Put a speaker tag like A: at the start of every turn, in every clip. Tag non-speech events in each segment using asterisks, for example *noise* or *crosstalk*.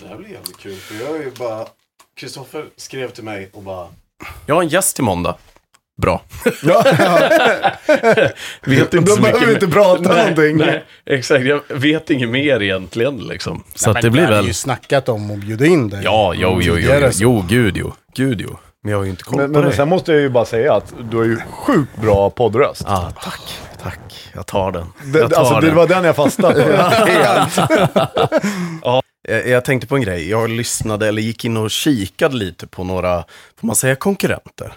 A: Det här blir jävligt kul. För jag är ju bara... Kristoffer skrev till mig och bara...
B: Jag har en gäst till måndag. Bra.
C: Ja,
B: Vet inte
C: Då
B: så
C: behöver
B: mycket
C: vi
B: mer.
C: inte prata
B: nej,
C: någonting.
B: Nej, exakt. Jag vet inget mer egentligen liksom. Så att
D: men
B: det blir
D: Vi hade
B: väl...
D: ju snackat om att bjuda in dig.
B: Ja, jo, jo, jo, jo,
D: Tidigare så.
B: jo, gud jo. Gud jo. Men jag har ju inte koll
C: Men,
B: på
C: men
B: det.
C: sen måste jag ju bara säga att du har ju sjukt bra poddröst.
B: Ah, tack, tack. Jag tar den.
C: Det,
B: Jag tar
C: alltså, det
B: *laughs* den.
C: var den jag fastnade på. *laughs*
B: *laughs* Jag, jag tänkte på en grej. Jag lyssnade, eller gick in och kikade lite på några, får man säga konkurrenter?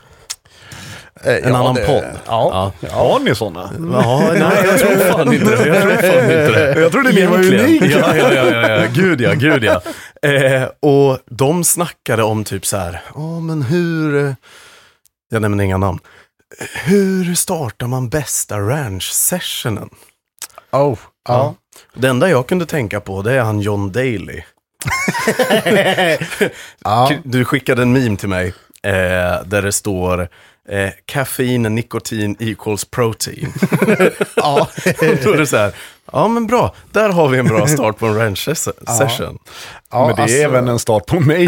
C: Eh,
B: En annan podd.
C: Ja. ja. Har ni sådana?
B: Ja, nej, jag tror fan inte det. Jag tror fan inte det. *laughs* Jag trodde
C: ni var unika.
B: Ja, ja, ja, ja, ja, gud ja, gud ja. *laughs* Eh, och de snackade om typ så här, ja men hur, eh, jag nämner inga namn. Hur startar man bästa ranch-sessionen?
D: Oh, ja.
B: Det enda jag kunde tänka på, det är han John *laughs* Daly.
D: ja.
B: Du skickade en meme till mig, eh, där det står eh, Kaffein and nikotin equals protein.
D: ja.
B: *laughs* Då är det så här, ja men bra, där har vi en bra start på en
C: *laughs*
B: ranch-session.
D: *laughs* ja
C: men det är
D: alltså,
C: även en start på
D: *laughs*
C: mig.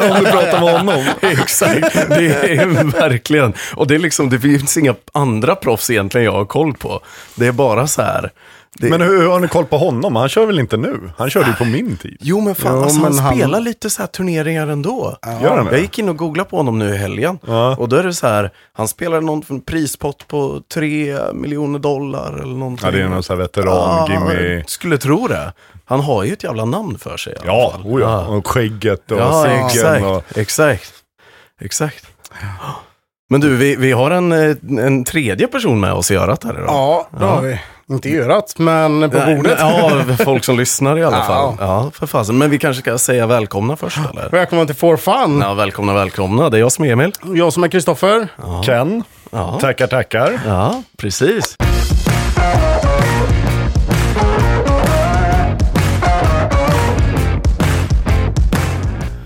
C: Om du pratar med honom.
B: *laughs* Exakt, det är verkligen. Och det är liksom, det finns inga andra proffs egentligen jag har koll på. Det är bara så här. Det...
C: Men hur har ni koll på honom? Han kör väl inte nu? Han körde ju på min tid.
B: jo men fan,
D: Jo,
B: alltså,
D: men
B: han
D: han-
B: spelar lite så här turneringar ändå.
C: Gör han
B: Jag
C: det?
B: gick in och googlade på honom nu i helgen. Och då är det så här, han spelar någon prispott på 3 miljoner dollar eller någonting.
C: Ja, det är någon sån här veteran,
B: Ja,
C: Jimmy.
B: Skulle tro det. Han har ju ett jävla namn för sig. i alla
C: Ja,
B: fall.
C: oh ja. Och skägget och
B: Ja,
C: ciggen. Och...
B: exakt, exakt. Exakt. Men du, vi, vi har en, eh, en tredje person med oss i örat här idag.
D: Ja, det har vi. Inte i örat, men på
B: Nej,
D: bordet.
B: Ja, folk som lyssnar i alla
D: Ja.
B: fall. Ja, för fasen. Men vi kanske ska säga välkomna först eller?
D: Välkommen till For Fun.
B: Ja, välkomna, välkomna. Det är jag som är Emil.
D: Jag som är Kristoffer.
C: Ken.
B: Ja.
C: Tackar, tackar.
B: Ja, precis.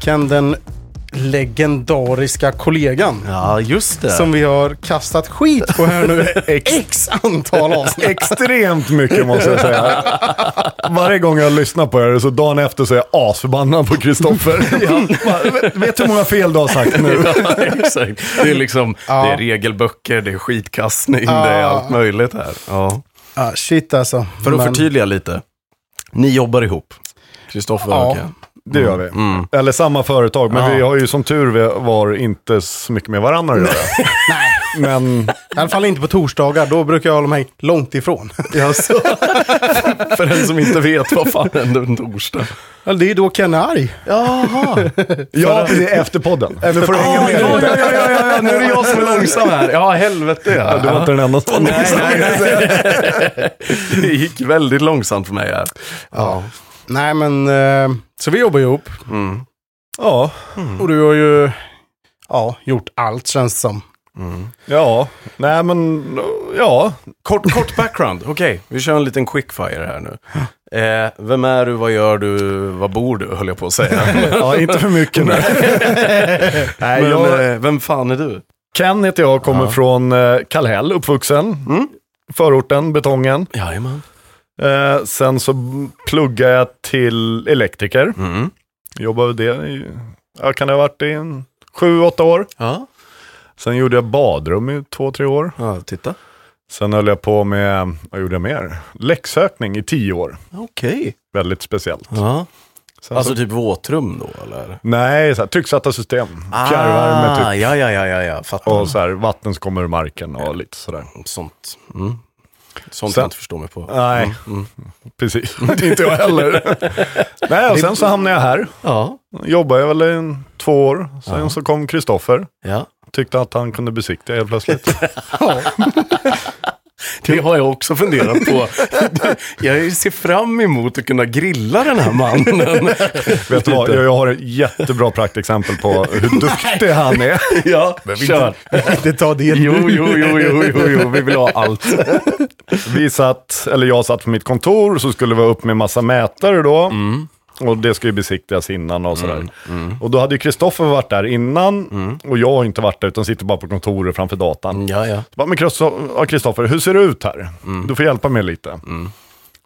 D: Ken, den legendariska kollegan.
B: Ja, just det.
D: Som vi har kastat skit på här nu. X antal avsnitt.
C: Extremt mycket måste jag säga. Varje gång jag lyssnar på er så dagen efter så är jag asförbannad på Kristoffer. *laughs* Vet du hur många fel du har sagt nu?
B: *laughs* Ja, exakt. Det är liksom, det är regelböcker, det är skitkastning, det är allt möjligt här. Ja.
D: Ah, shit alltså.
B: För att
D: Men-
B: förtydliga lite. Ni jobbar ihop. Kristoffer och
D: Ja.
B: Ken.
C: Det gör vi. Eller samma företag, men
B: Ja.
C: vi har ju som tur var inte så mycket med varandra att göra. *laughs*
D: Nej,
C: Men
D: i alla fall inte på torsdagar. Då brukar jag hålla mig långt ifrån.
B: Jaså? För den som inte vet vad fan hände en torsdag.
D: Eller Det är då Ken är arg.
B: Jaha.
C: ja, det är efter podden. Nu får du hänga
B: Ja,
C: med
B: ja,
C: lite.
B: ja, ja, ja, ja, nu är det jag som är långsam här. Ja, helvete ja.
C: Du var inte den enda som
B: Nej, nej, nej. Det gick väldigt långsamt för mig här.
D: Ja. Nej, men eh, så vi jobbar ihop.
C: Ja,
D: Och du har ju ja, gjort allt känns det som.
C: ja, nej men ja.
B: Kort, kort background. Okej, vi kör en liten quickfire här nu. Eh, vem är du, vad gör du, vad bor du, höll jag på att säga.
C: ja, inte för mycket nu. nej,
B: Men,
C: jag,
B: eh, vem fan är du?
C: Ken heter jag, kommer från eh, Kallhäll, uppvuxen. Förorten, betongen.
B: Jajamän.
C: Eh, sen så b- pluggade jag till elektriker.
B: Mm.
C: Jobbade med det i, ja, kan det ha varit i en sju, åtta år.
B: Ja.
C: Sen gjorde jag badrum i två, tre år.
B: ja, titta.
C: Sen höll jag på med, vad gjorde jag mer? Läxökning i tio år.
B: Okej.
C: Väldigt speciellt.
B: Ja.
C: Sen
B: Alltså
C: så,
B: typ våtrum då, eller?
C: nej, så här, trycksatta system.
B: Ah.
C: Fjärrvärme typ.
B: Ja, ja, ja, ja, ja. fattar.
C: Och så här, vatten som kommer ur marken och lite sådär.
B: Sånt. Mm. Sånt
C: Sen-
B: jag inte förstår mig på.
C: Nej, precis. *laughs* Det är inte jag heller. nej, och sen så hamnade jag här.
B: Ja.
C: Jobbade jag väl i en- två år. Sen så kom Kristoffer.
B: ja.
C: Tyckte att han kunde besiktiga helt plötsligt.
B: Det har jag också funderat på. *laughs* Jag ser fram emot att kunna grilla den här mannen.
C: Vet du vad, jag, jag har ett jättebra praktexempel på hur duktig han är.
B: *laughs* Ja, *laughs* kör.
D: Det tar det.
B: Jo, jo, jo, jo, jo, jo, vi vill ha allt.
C: Vi satt, eller jag satt på mitt kontor, så skulle vi upp med massa mätare då. Och det ska ju besiktigas innan och sådär. Och då hade ju Kristoffer varit där innan, och jag har inte varit där, utan sitter bara på kontoret framför datan.
B: Ja, ja.
C: Så bara, men Kristo- ja, Kristoffer, hur ser det ut här? Du får hjälpa mig lite.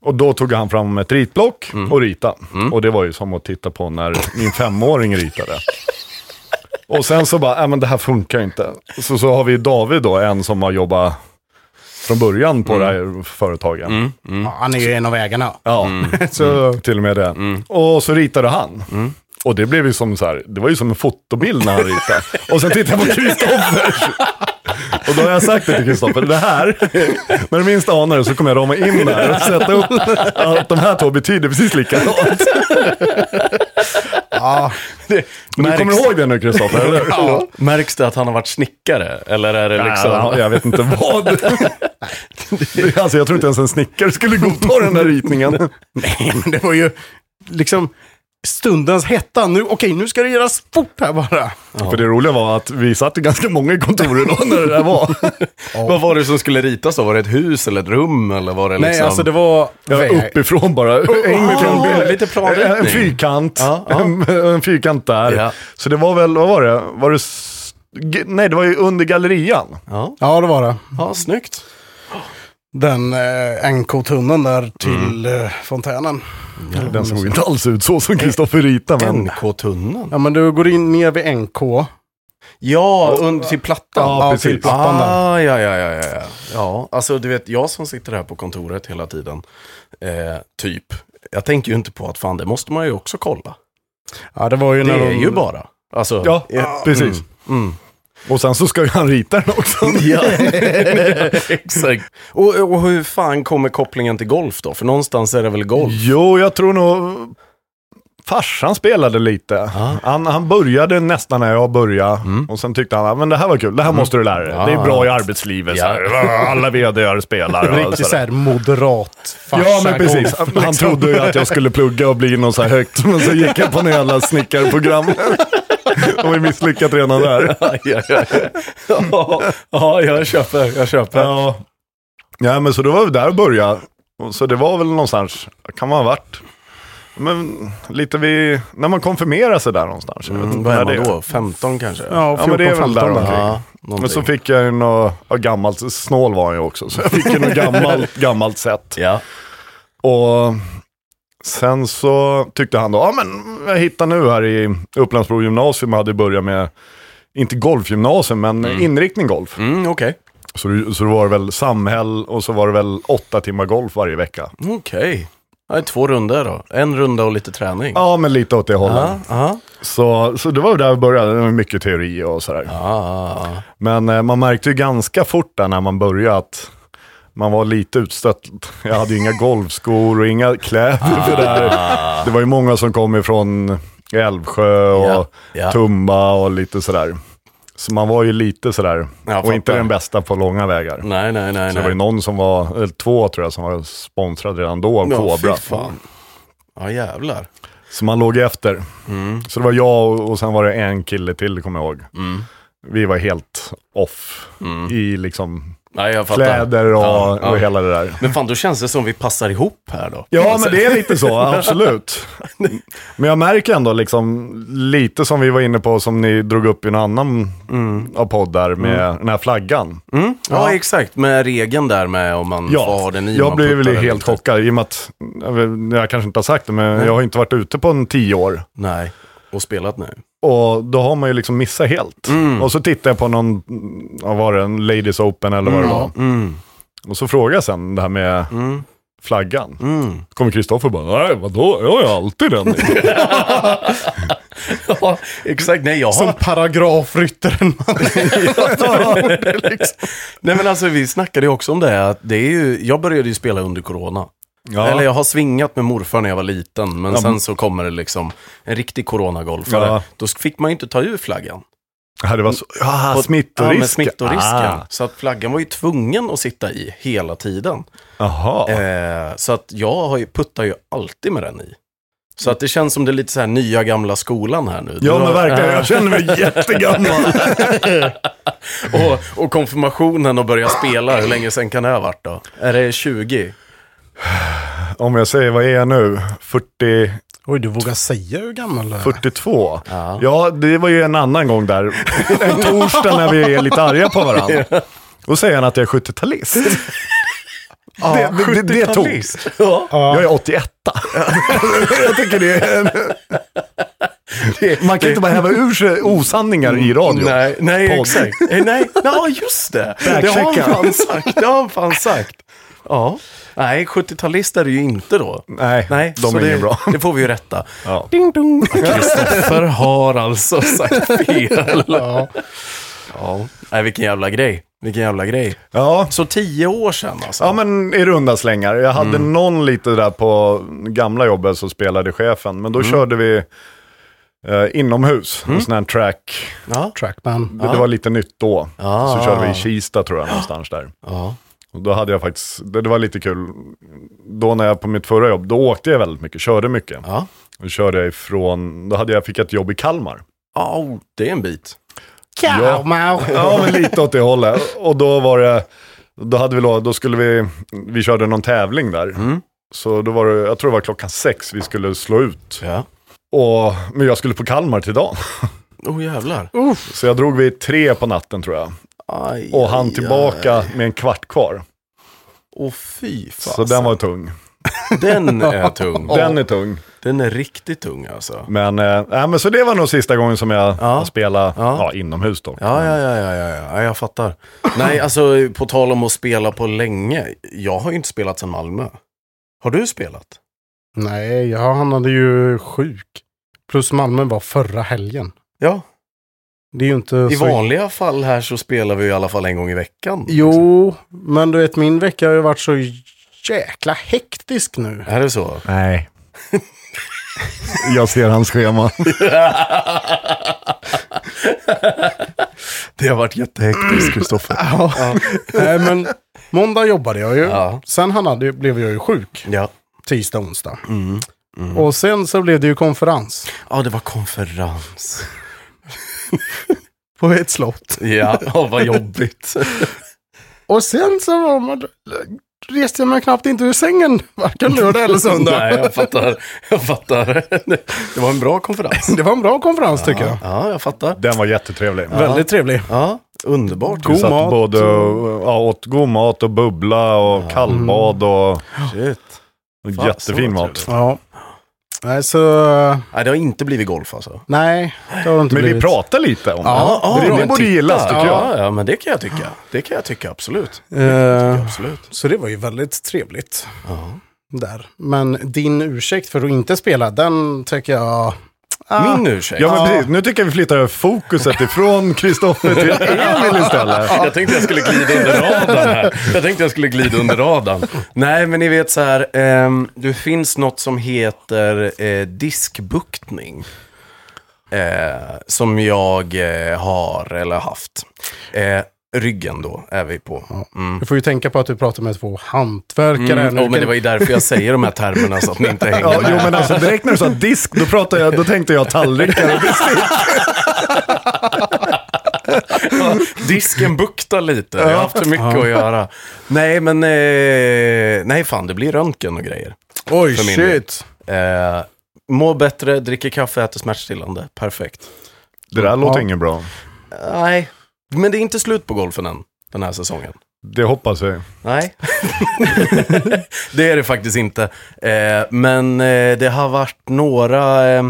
C: Och då tog han fram ett ritblock och ritade. Och det var ju som att titta på när min femåring ritade. Och sen så bara, nej men det här funkar ju inte. Så, så har vi David då, en som har jobbat från början på det här företaget.
D: Ja, han är ju en av ägarna.
C: Mm. Ja, *laughs* så Mm. Mm. till och med det. Och så ritade han. Och det blev ju som så här, det var ju som en fotobild när han ritade. och sen tittade jag på Kristoffers. och då har jag sagt det till Kristoffer, det här, när du minst anar det så kommer jag rama in det här och sätta upp att de här två betyder precis likadant.
D: Ja,
C: Men du kommer
B: Märks.
C: ihåg det nu Kristoffer, eller?
B: Ja. Märks det att han har varit snickare? Eller är det liksom...
C: Ja, jag vet inte *laughs* vad. alltså jag tror inte ens en snickare skulle godta den där ritningen.
D: nej, men det var ju liksom stundens hetta. Nu, okej, nu ska det göras fort här bara.
C: För det roliga var att vi satt ju ganska många i kontoret då när det där var.
B: Vad var det som skulle ritas då? Var det ett hus eller ett rum? Eller var det liksom...
D: Nej, alltså det var...
C: Ja, uppifrån
B: *laughs*
C: bara.
B: lite-
C: bild.
B: lite planritning.
C: En fyrkant.
B: Ja, ja.
C: En, en fyrkant där.
B: Ja.
C: Så det var väl, vad var det? Var det s- g- Nej, det var ju under gallerian.
B: Ja,
D: Ja, det var det.
B: ja snyggt.
D: Den eh, NK-tunneln där till
C: Mm.
D: eh, fontänen.
C: Den såg inte alls ut så som Kristoffer ritade. Men...
B: NK-tunneln.
D: Ja, men du går in ner vid NK.
B: Ja, under till plattan.
C: Ja,
D: Ja,
C: precis.
D: till plattan där.
B: Ah, ja, ja, ja, ja, ja. Ja, alltså du vet, jag som sitter här på kontoret hela tiden, eh, typ, jag tänker ju inte på att fan, det måste man ju också kolla.
D: Ja, det var ju
B: Det
D: när
B: är
D: de...
B: ju bara. Alltså,
C: Ja, precis. Och sen så ska ju han rita den också.
B: Mm.
C: *laughs*
B: Ja, exakt. Och, och hur fan kommer kopplingen till golf då? För någonstans är det väl golf?
C: Jo, jag tror nog... Farsan spelade lite. Han, han började nästan när jag började.
D: Mm.
C: Och sen tyckte han, "Ah, men det här var kul, det här måste du lära dig. Det är bra i arbetslivet. så här. Alla vd-ar spelar. och
D: Riktigt
C: så
D: såhär moderat farsa
C: Ja, men precis.
D: golf,
C: Han
D: liksom.
C: trodde ju att jag skulle plugga och bli någon så här högt, men så gick jag på några jävla
D: *laughs*
C: snickarprogram. De har ju misslyckat redan där.
B: Ja, ja, *laughs* ja. Ja, ja, jag köper, jag köper.
C: Ja. ja, men så det var väl där jag började. Och Så det var väl någonstans, kan man ha varit, men lite vid, när man konfirmerar sig där någonstans. jag vet
B: Mm,
C: inte
B: vad
C: när
B: är man
C: det
B: då? 15 kanske?
D: Ja, 14,
C: Ja, men det är väl där
D: 15 där.
C: omkring.
B: ja
C: Men så
B: någonting.
C: fick jag ju något, ja, gammalt, snål var han ju också, så jag fick ju något
B: *laughs*
C: gammalt, gammalt sätt.
B: Ja.
C: Och sen så tyckte han då, ja men jag hittar nu här i Upplandsbro gymnasium, jag hade börjat med, inte golfgymnasium, men inriktning golf.
B: Mm, okej.
C: Så, det- så det var väl samhäll och så var det väl åtta timmar golf varje vecka.
B: Okej. Ja, det är två runder då. En runda och lite träning.
C: Ja, men lite åt det hållet.
B: Ja, ja.
C: Så, så det var där vi började, det var mycket teori och sådär.
B: Ah, ah,
C: Men eh, man märkte ju ganska fort där när man började att man var lite utstött. Jag hade ju
B: *laughs*
C: inga golfskor och inga kläder
B: Ah.
C: för det här. Det var ju många som kom ifrån Älvsjö och
B: Ja, ja.
C: Tumba och lite sådär. Så man var ju lite sådär,
B: Jag
C: och inte
B: fattar.
C: den bästa på långa vägar.
B: Nej, nej, nej.
C: Så det var ju
B: nej.
C: någon som var, eller två tror jag, som var sponsrad redan då av
B: Ja,
C: Kobra.
B: fy fan. Ja, jävlar.
C: Så man låg efter.
B: Mm.
C: Så det var jag och, och sen var det en kille till, kommer jag ihåg. Vi var helt off i liksom
B: Nej, jag Mm. fattar.
C: kläder och,
B: Ja, ja.
C: och hela det där.
B: Men fan, då känns det som vi passar ihop här då.
C: Ja, men det är lite
B: *laughs*
C: så, absolut. Men jag märker ändå liksom, lite som vi var inne på, som ni drog upp i en annan av poddar med den här flaggan.
B: Mm? Ja, exakt. Med regeln där med om man får ha den i.
C: jag
B: man
C: blev väl
B: puttar
C: helt
B: eller inte.
C: chockad i och med att, jag vet- jag kanske inte har sagt det, men jag har inte varit ute på en tio år.
B: Nej, och spelat nu.
C: *laughs* Och då har man ju liksom missat helt.
B: Mm.
C: Och så tittade jag på någon, vad var det, en Ladies Open eller vad det var.
B: Mm.
C: Och så frågade jag sen det här med flaggan.
B: Mm.
C: Kommer Kristoffer bara, nej vadå, jag har ju alltid
B: *laughs*
C: den.
B: Ja, exakt. Nej, jag har
D: Som paragrafryttaren.
C: *laughs*
B: liksom.
C: liksom.
B: Nej men alltså vi snackade ju också om det här, att det är ju, jag började ju spela under corona.
C: Ja.
B: Eller jag har svingat med morfar när jag var liten, men
C: Ja, men-
B: sen så kommer det liksom en riktig coronagolfare.
C: Ja.
B: Då fick man ju inte ta ur flaggan.
C: Ja, det var så, ja,
B: Och-
C: smittorisk.
B: Ja, med smittorisken.
C: Ah,
B: Så att flaggan var ju tvungen att sitta i hela tiden.
C: Jaha.
B: Eh, så att jag har ju, puttar ju alltid med den i. Så att det känns som det är lite så här nya gamla skolan här nu.
C: ja,
B: Du
C: men
B: har-
C: verkligen. Jag känner mig jättegammal.
B: *laughs* och, och konfirmationen och börja spela, hur länge sen kan det ha varit då? Är det 20?
C: Om jag säger, vad är jag nu? 40,
D: Oj, du vågar säga hur gammal du är.
C: 42? Ja. det var ju en annan gång där. En torsdag när vi är lite arga på varandra. Då säger han att jag är 70-talist. Det, det, det, det tog.
B: Ja.
C: Jag är 81 *laughs*
B: Jag tycker det är...
C: Man kan inte bara häva ur sig osanningar i radio.
B: Nej, nej
C: Podd.
B: exakt. Eh, Nej, ja just det. Det har han
C: Backchecka.
B: fan sagt. Det har han fan sagt. Ja. Nej, 70-talist är det ju inte då.
C: Nej,
B: Nej,
C: de
B: så
C: är
B: det,
C: inget bra.
B: Det får vi ju rätta.
C: Ja.
B: Ding dong. Kristoffer har alltså sagt fel. Ja. ja. Nej, vilken jävla grej. Vilken jävla grej.
C: Ja.
B: Så tio år sedan alltså.
C: Ja men i runda slängar. Jag hade någon lite där på gamla jobbet så spelade chefen. Men då körde vi eh, inomhus. En sån här track.
B: Ja.
D: Trackman.
C: Det, det var lite nytt då.
B: Ah.
C: Så körde vi i Kista tror jag någonstans där.
B: Ja.
C: Och då hade jag faktiskt, det, det var lite kul. Då när jag på mitt förra jobb, då åkte jag väldigt mycket, körde mycket.
B: Ja.
C: Då körde jag ifrån, då hade jag, fick jag ett jobb i Kalmar.
B: Oh, det är en bit.
C: Ja. Ja, men lite åt det hållet. Och då var det, då hade vi lov, då skulle vi, vi körde någon tävling där.
B: Mm.
C: Så då var det, jag tror det var klockan sex vi skulle slå ut.
B: Ja.
C: Och, men jag skulle på Kalmar till dagen. *laughs*
B: Oh jävlar.
C: Så jag drog vid tre på natten tror jag.
B: Aj,
C: Och han
B: aj,
C: tillbaka
B: aj.
C: med en kvart kvar.
B: Åh fy fan.
C: Så den var tung.
B: den är tung.
C: Den är tung.
B: Den är riktigt tung alltså.
C: Men, eh, nej, men så det var nog sista gången som jag har spelat
B: Ja.
C: ja. inomhus dock.
B: Ja, ja, ja, ja, ja, ja, ja, jag fattar. Nej, alltså på tal om att spela på länge. Jag har ju inte spelat sedan Malmö. Har du spelat?
D: Nej, jag hamnade ju sjuk. Plus Malmö var förra helgen.
B: Ja,
D: Det är ju inte
B: i
D: så...
B: vanliga fall här så spelar vi ju i alla fall en gång i veckan. liksom.
D: Jo, men du vet min vecka har ju varit så jäkla hektisk nu.
B: Är det så?
C: *laughs* Nej. jag ser hans schema.
B: *laughs* Det har varit jättehektiskt, Kristoffer.
D: Ja. Nej, men måndag jobbade jag ju.
B: Ja.
D: Sen hamnade, blev jag ju sjuk
B: Ja. Mm.
D: tisdag, onsdag. Och sen så blev det ju konferens
B: ja, det var konferens.
D: på ett slott.
B: Ja, *laughs* ja vad *laughs* jobbigt.
D: Och sen så var man, reste jag mig knappt inte ur sängen, varken lördag eller söndag.
B: Nej, jag fattar. Jag fattar. Det var en bra konferens.
D: Det var en bra konferens tycker jag.
B: Ja, jag fattar.
C: Den var jättetrevlig.
D: Väldigt trevlig.
B: Ja, underbart.
C: Vi satt
D: mat.
C: Både, och- ja, åt god mat och bubbla och kallbad och
B: Shit.
C: och
B: Fan,
C: jättefin
B: så
C: mat.
B: trevligt.
D: Ja. Nej, så...
B: Nej, det har inte blivit golf alltså.
D: Nej, det har det inte
C: Men vi
D: blivit.
C: pratade lite om
D: Ja,
C: det.
D: ja,
C: det. Det
D: men
C: borde gillas tycker jag.
B: Ja, ja, men det kan jag tycka. Det kan jag tycka, absolut.
D: Eh,
B: Absolut.
D: så det var ju väldigt trevligt
B: Ja.
D: där. Men din ursäkt för att inte spela, den tycker jag... Ah,
B: Min ursäkt.
C: Ja, men precis. Nu tycker jag vi flyttar över fokuset ifrån Kristoffer till Emil istället.
B: Jag tänkte jag skulle glida under radarn här. Jag tänkte jag skulle glida under radarn. Nej, men ni vet så här, ehm, det finns något som heter eh, diskbuktning. Eh, som jag eh, har eller haft. Eh, ryggen då är vi på. Mm.
D: Du får ju tänka på att du pratar med två hantverkare.
B: Mm,
D: här nu.
B: oh, men det var ju därför jag säger de här termerna så att ni inte hänger
C: Ja,
B: med.
C: jo, men alltså direkt när du sa disk, då, pratade jag, då tänkte jag tallrikar och bestick.
B: Disken buktar lite. Jag har haft för mycket att göra. Nej, men... Eh, nej, fan, det blir röntgen och grejer.
D: Oj,
B: för min
D: shit.
B: Eh, må bättre, dricker kaffe, äter smärtstillande. Perfekt.
C: Det där låter inget bra.
B: Nej, men det är inte slut på golfen än, den här säsongen.
C: Det hoppas vi.
B: Nej, *laughs* det är det faktiskt inte. Eh, men eh, det har varit några... Eh,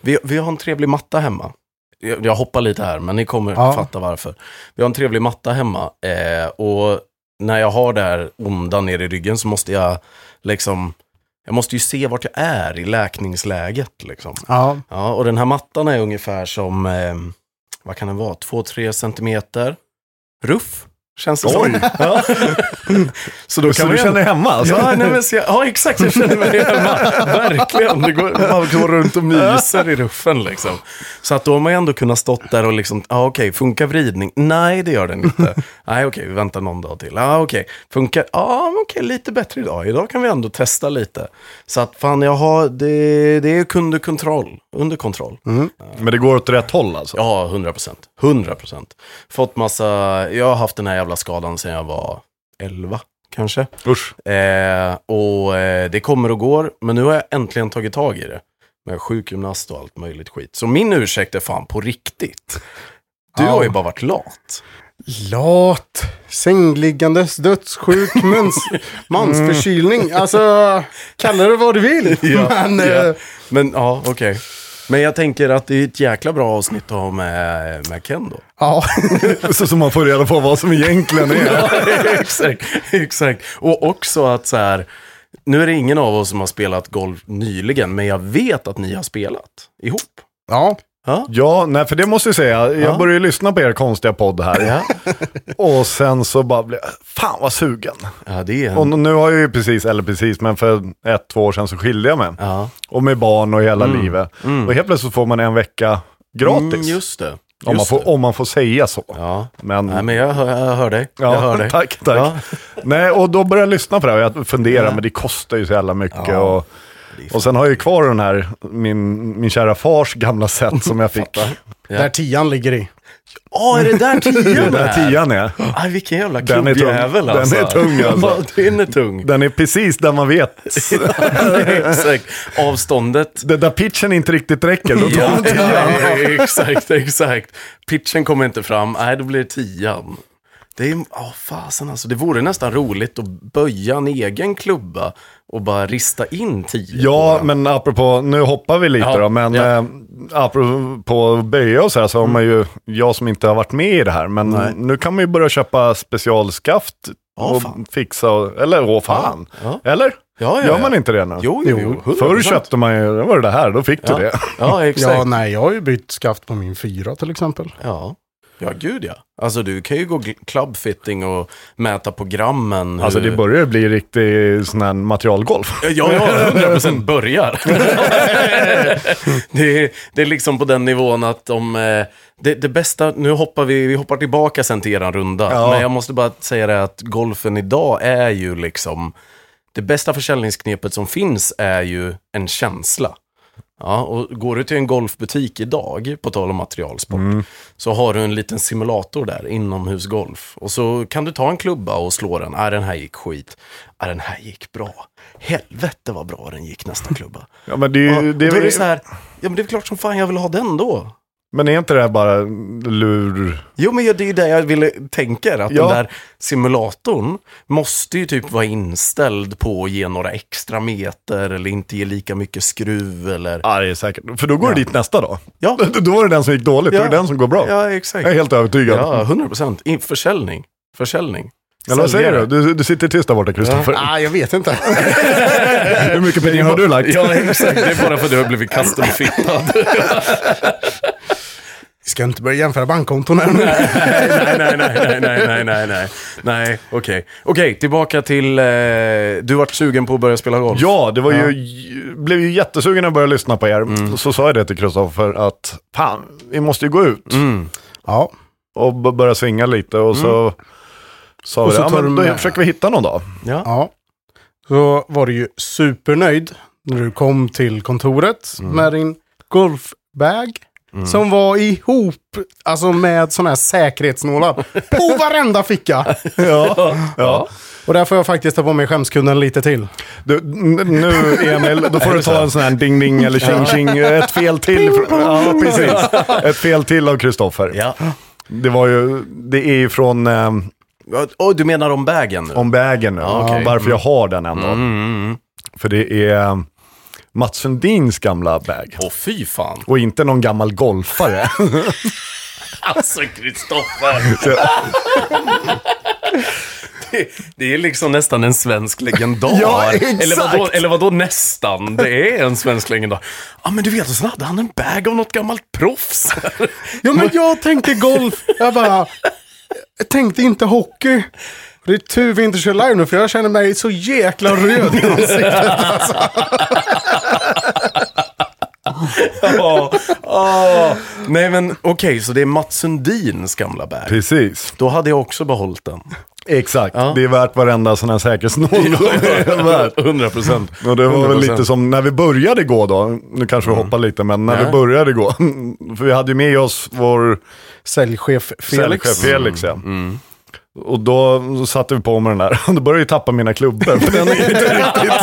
B: vi, vi har en trevlig matta hemma. Jag, jag hoppar lite här, men ni kommer
D: Ja.
B: fatta varför. Vi har en trevlig matta hemma eh, och när jag har det här onda nere i ryggen så måste jag liksom... Jag måste ju se vart jag är i läkningsläget liksom.
D: Ja,
B: Ja, och den här mattan är ungefär som, eh, vad kan den vara, 2-3 centimeter ruff, känns det som.
C: *laughs*
B: Ja. så då
C: Så
B: kan
C: du
B: vi
C: känner dig hemma alltså?
B: *laughs* Ja, nej, men, så jag, ja, exakt. Jag känner mig hemma. *laughs* Verkligen. Det går, man går runt och myser i ruffen liksom. Så att då har man ju ändå kunnat stått där och liksom, ja ah, okej, funkar vridning? Nej, det gör den inte. *laughs* Nej, okej, vi väntar någon dag till. Ja, ah, okej, funkar? Ja, ah, men okej, lite bättre idag. Idag kan vi ändå testa lite. Så att fan, jag har, det, det är under kontroll. Under kontroll.
C: Men det går åt rätt håll alltså?
B: Ja, 100 procent. 100 procent. Fått massa, jag har haft den här jävla skadan sedan jag var 11 kanske.
C: Usch.
B: Eh, och eh, det kommer och går, men nu har jag äntligen tagit tag i det. Med sjukgymnast och allt möjligt skit. Så min ursäkt är fan på riktigt. Du har ju bara varit lat.
D: Lat,
B: *laughs*
D: sängliggandes, dödssjuk, mens- mansförkylning. Alltså, kalla det vad du vill. men
B: Mm. *laughs* ja.
D: eh,
B: Men ja, okej. Men jag tänker att det är ett jäkla bra avsnitt att ha med, med Ken då.
D: ja. *laughs*
C: Så, så man får reda på vad som egentligen är.
B: *laughs* exakt, exakt. Och också att så här, nu är det ingen av oss som har spelat golf nyligen, men jag vet att ni har spelat ihop.
D: ja.
C: Ja, nej för det måste jag säga. Jag började ju lyssna på er konstiga podd här. Och sen så bara blev jag, fan vad sugen.
B: Ja, det är
C: Och nu har jag ju precis, eller precis, men för ett, två år sedan så skilde jag mig.
B: Ja.
C: Och med barn och hela livet. Och helt plötsligt får man en vecka gratis.
B: Mm, just det. Just
C: om, man får,
B: det.
C: om man får säga så.
B: Ja.
C: Men,
B: Nej, men jag hör, jag hör dig.
C: ja,
B: jag hör dig.
C: tack, tack.
B: Ja.
C: Nej, och då började jag lyssna på det här och jag funderade, men det kostar ju så jävla mycket. Och, och sen har jag ju kvar den här, min, min kära fars gamla set som jag
B: *laughs*
C: fick.
D: Där tian ligger i.
B: Åh, är det
C: *laughs*
B: där
C: Det
B: tian
C: är där tian är.
B: Aj, vilken jävla
C: Den är tung.
B: klubbjävel
C: Den
B: alltså.
C: är tung, alltså.
B: *laughs* Ja, Den
C: *laughs*
B: är tung. *laughs*
C: Den är precis där man vet.
B: exakt. Avståndet.
C: Det där pitchen inte riktigt räcker, då tar man tian.
B: ja, exakt, exakt. Pitchen kommer inte fram. Nej, då blir det tian. Det är, oh, fasen alltså. Det vore nästan roligt att böja en egen klubba och bara rista in tian.
C: Ja, men apropå, nu hoppar vi lite
B: Ja,
C: då, men
B: ja.
C: eh, apropå att böja och så här så har man ju, jag som inte har varit med i det här, men nu kan man ju börja köpa specialskaft och
B: fan.
C: fixa, och, eller åh fan,
B: Ja,
C: eller?
B: Ja, ja,
C: Gör
B: ja.
C: man inte det nu?
B: Jo, jo, jo. 100%.
C: Förr köpte man ju, då var det det här, då fick
B: ja.
C: du det.
B: Ja, exakt.
D: Ja, nej, jag har ju bytt skaft på min fyra till exempel.
B: Ja. Ja, gud ja. Alltså du kan ju gå gl- clubfitting och mäta programmen.
C: Alltså det börjar ju bli riktig sån här materialgolf.
B: Ja, ja, 100 procent börjar. *laughs* det, är, det är liksom på den nivån att om... eh, Det, det bästa, nu hoppar vi, vi hoppar tillbaka sen till eran runda.
C: Ja.
B: Men jag måste bara säga det att golfen idag är ju liksom... Det bästa försäljningsknepet som finns är ju en känsla. Ja, och går du till en golfbutik idag, på tal om materialsport, så har du en liten simulator där, inomhusgolf. Och så kan du ta en klubba och slå den. Ah, den här gick skit. Ah, den här gick bra. Helvete vad bra den gick nästa klubba.
C: Ja, men, *laughs* det är
B: Ja,
C: ju,
B: och
C: det
B: då är det
C: är,
B: så här, ja men det är klart som fan jag vill ha den då.
C: men är inte det här bara lur...
B: Jo men ja, det är ju det jag ville tänker, att
C: Ja.
B: den där simulatorn måste ju typ vara inställd på att ge några extra meter eller inte ge lika mycket skruv eller...
C: Ja, det är säkert. För då går du dit nästa dag.
B: Ja,
C: *laughs* Då var det den som gick dåligt,
B: Ja.
C: det är den som går bra.
B: ja exakt.
C: Jag är helt övertygad.
B: Ja, 100 procent. Försäljning. Försäljning.
C: Eller vad säger
B: Säljare.
C: du? du? Du sitter tyst där borta, Kristoffer.
D: Ah, jag vet inte.
C: Hur mycket pengar har du lagt?
B: *laughs* Ja, exakt. Det är bara för att du har blivit custom-fittad.
D: Vi ska inte börja jämföra bankkonton här nu.
B: *laughs* nej, nej, nej, nej, nej, nej, nej, nej. Nej, okej. Okej, tillbaka till... Eh, du vart sugen på att börja spela golf.
C: Ja, det var ju, blev ju jättesugen när jag började lyssna på er.
B: Mm.
C: Så sa jag det till Kristoffer att fan, vi måste ju gå ut
D: Ja,
C: och b- börja svinga lite. Och så sa vi
D: så
C: det, ja,
D: tar
C: men
D: du
C: då
D: med."
C: försöker vi hitta någon dag.
B: Ja.
D: ja. Så var du ju supernöjd när du kom till kontoret med din golfbag. Som var ihop, alltså med sådana här säkerhetsnålar på varenda ficka.
C: Ja, ja.
D: Och där får jag faktiskt ta på mig skämskudden lite till.
C: Du, n- nu Emil, då får du ta en sån här ding-ding eller tjing-tjing. Ett fel till. fr- Ja, precis. Ett fel till av Kristoffer.
B: Ja.
C: Det var ju, det är ju från... ehm,
B: Och du menar om bagen nu?
C: om vägen nu.
B: Ja, okej.
C: Varför jag har den ändå. För det är eh, Mats Sundins gamla bag.
B: Åh, fy fan.
C: Och inte någon gammal golfare.
B: Alltså, Kristoffer. Det- Det är liksom nästan en svensk legendar.
C: Ja, exakt.
B: Eller vadå, eller vadå nästan? Det är en svensk legendar. Ja, men du vet, och sen hade han en bag av något gammalt proffs.
D: Ja, men jag tänkte golf. Jag bara, jag tänkte inte hockey. Det är tur vi inte kör live nu, för jag känner mig så jäkla röd i ansiktet.
B: Ja, ja. Nej men okej, så det är Mats Sundins gamla bag.
C: Precis.
B: Då hade jag också behållit *laughs* den.
C: Exakt. Det är värt varenda sån här säkerhetsnål. Det är värt.
B: 100 procent.
C: Och det var väl lite som när vi började gå då, nu kanske vi hoppar lite, men när vi började gå, *laughs* för vi hade ju med oss vår
D: Säljchef Felix.
C: säljchef Felix. Mm. Ja. Och då satte vi på med den där, *laughs* och då började jag tappa mina klubbor, för den är inte riktigt...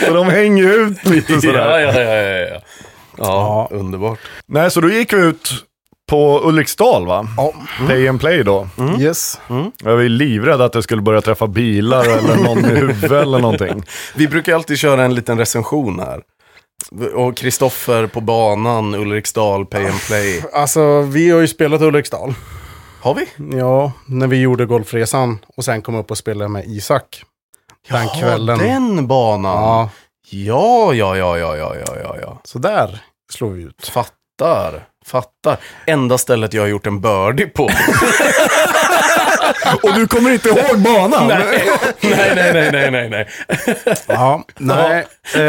C: *laughs* Så de hänger ju ut lite sådär.
B: Ja, ja, ja, ja, ja. Ja, underbart.
C: Nej, så då gick vi ut på Ulriksdal va?
D: Ja.
C: Pay and play då.
D: Yes.
C: Jag var ju livrädd att jag skulle börja träffa bilar eller någon i huvudet eller någonting.
B: Vi brukar alltid köra en liten recension här. Och Kristoffer på banan, Ulriksdal, Pay and Play.
D: Alltså, vi har ju spelat Ulriksdal.
B: Har vi?
D: Ja, när vi gjorde golfresan och sen kom upp och spelade med Isak. Den
B: Jaha,
D: kvällen.
B: den banan.
D: Ja,
B: Ja, ja, ja, ja, ja, ja, ja, ja.
D: så där slog vi ut.
B: Fattar. Fattar. Enda stället jag har gjort en birdie på.
C: *laughs* Och du kommer inte ihåg banan?
B: nej, *laughs* nej, nej, nej, nej, nej, nej.
D: Ja, nej. eh,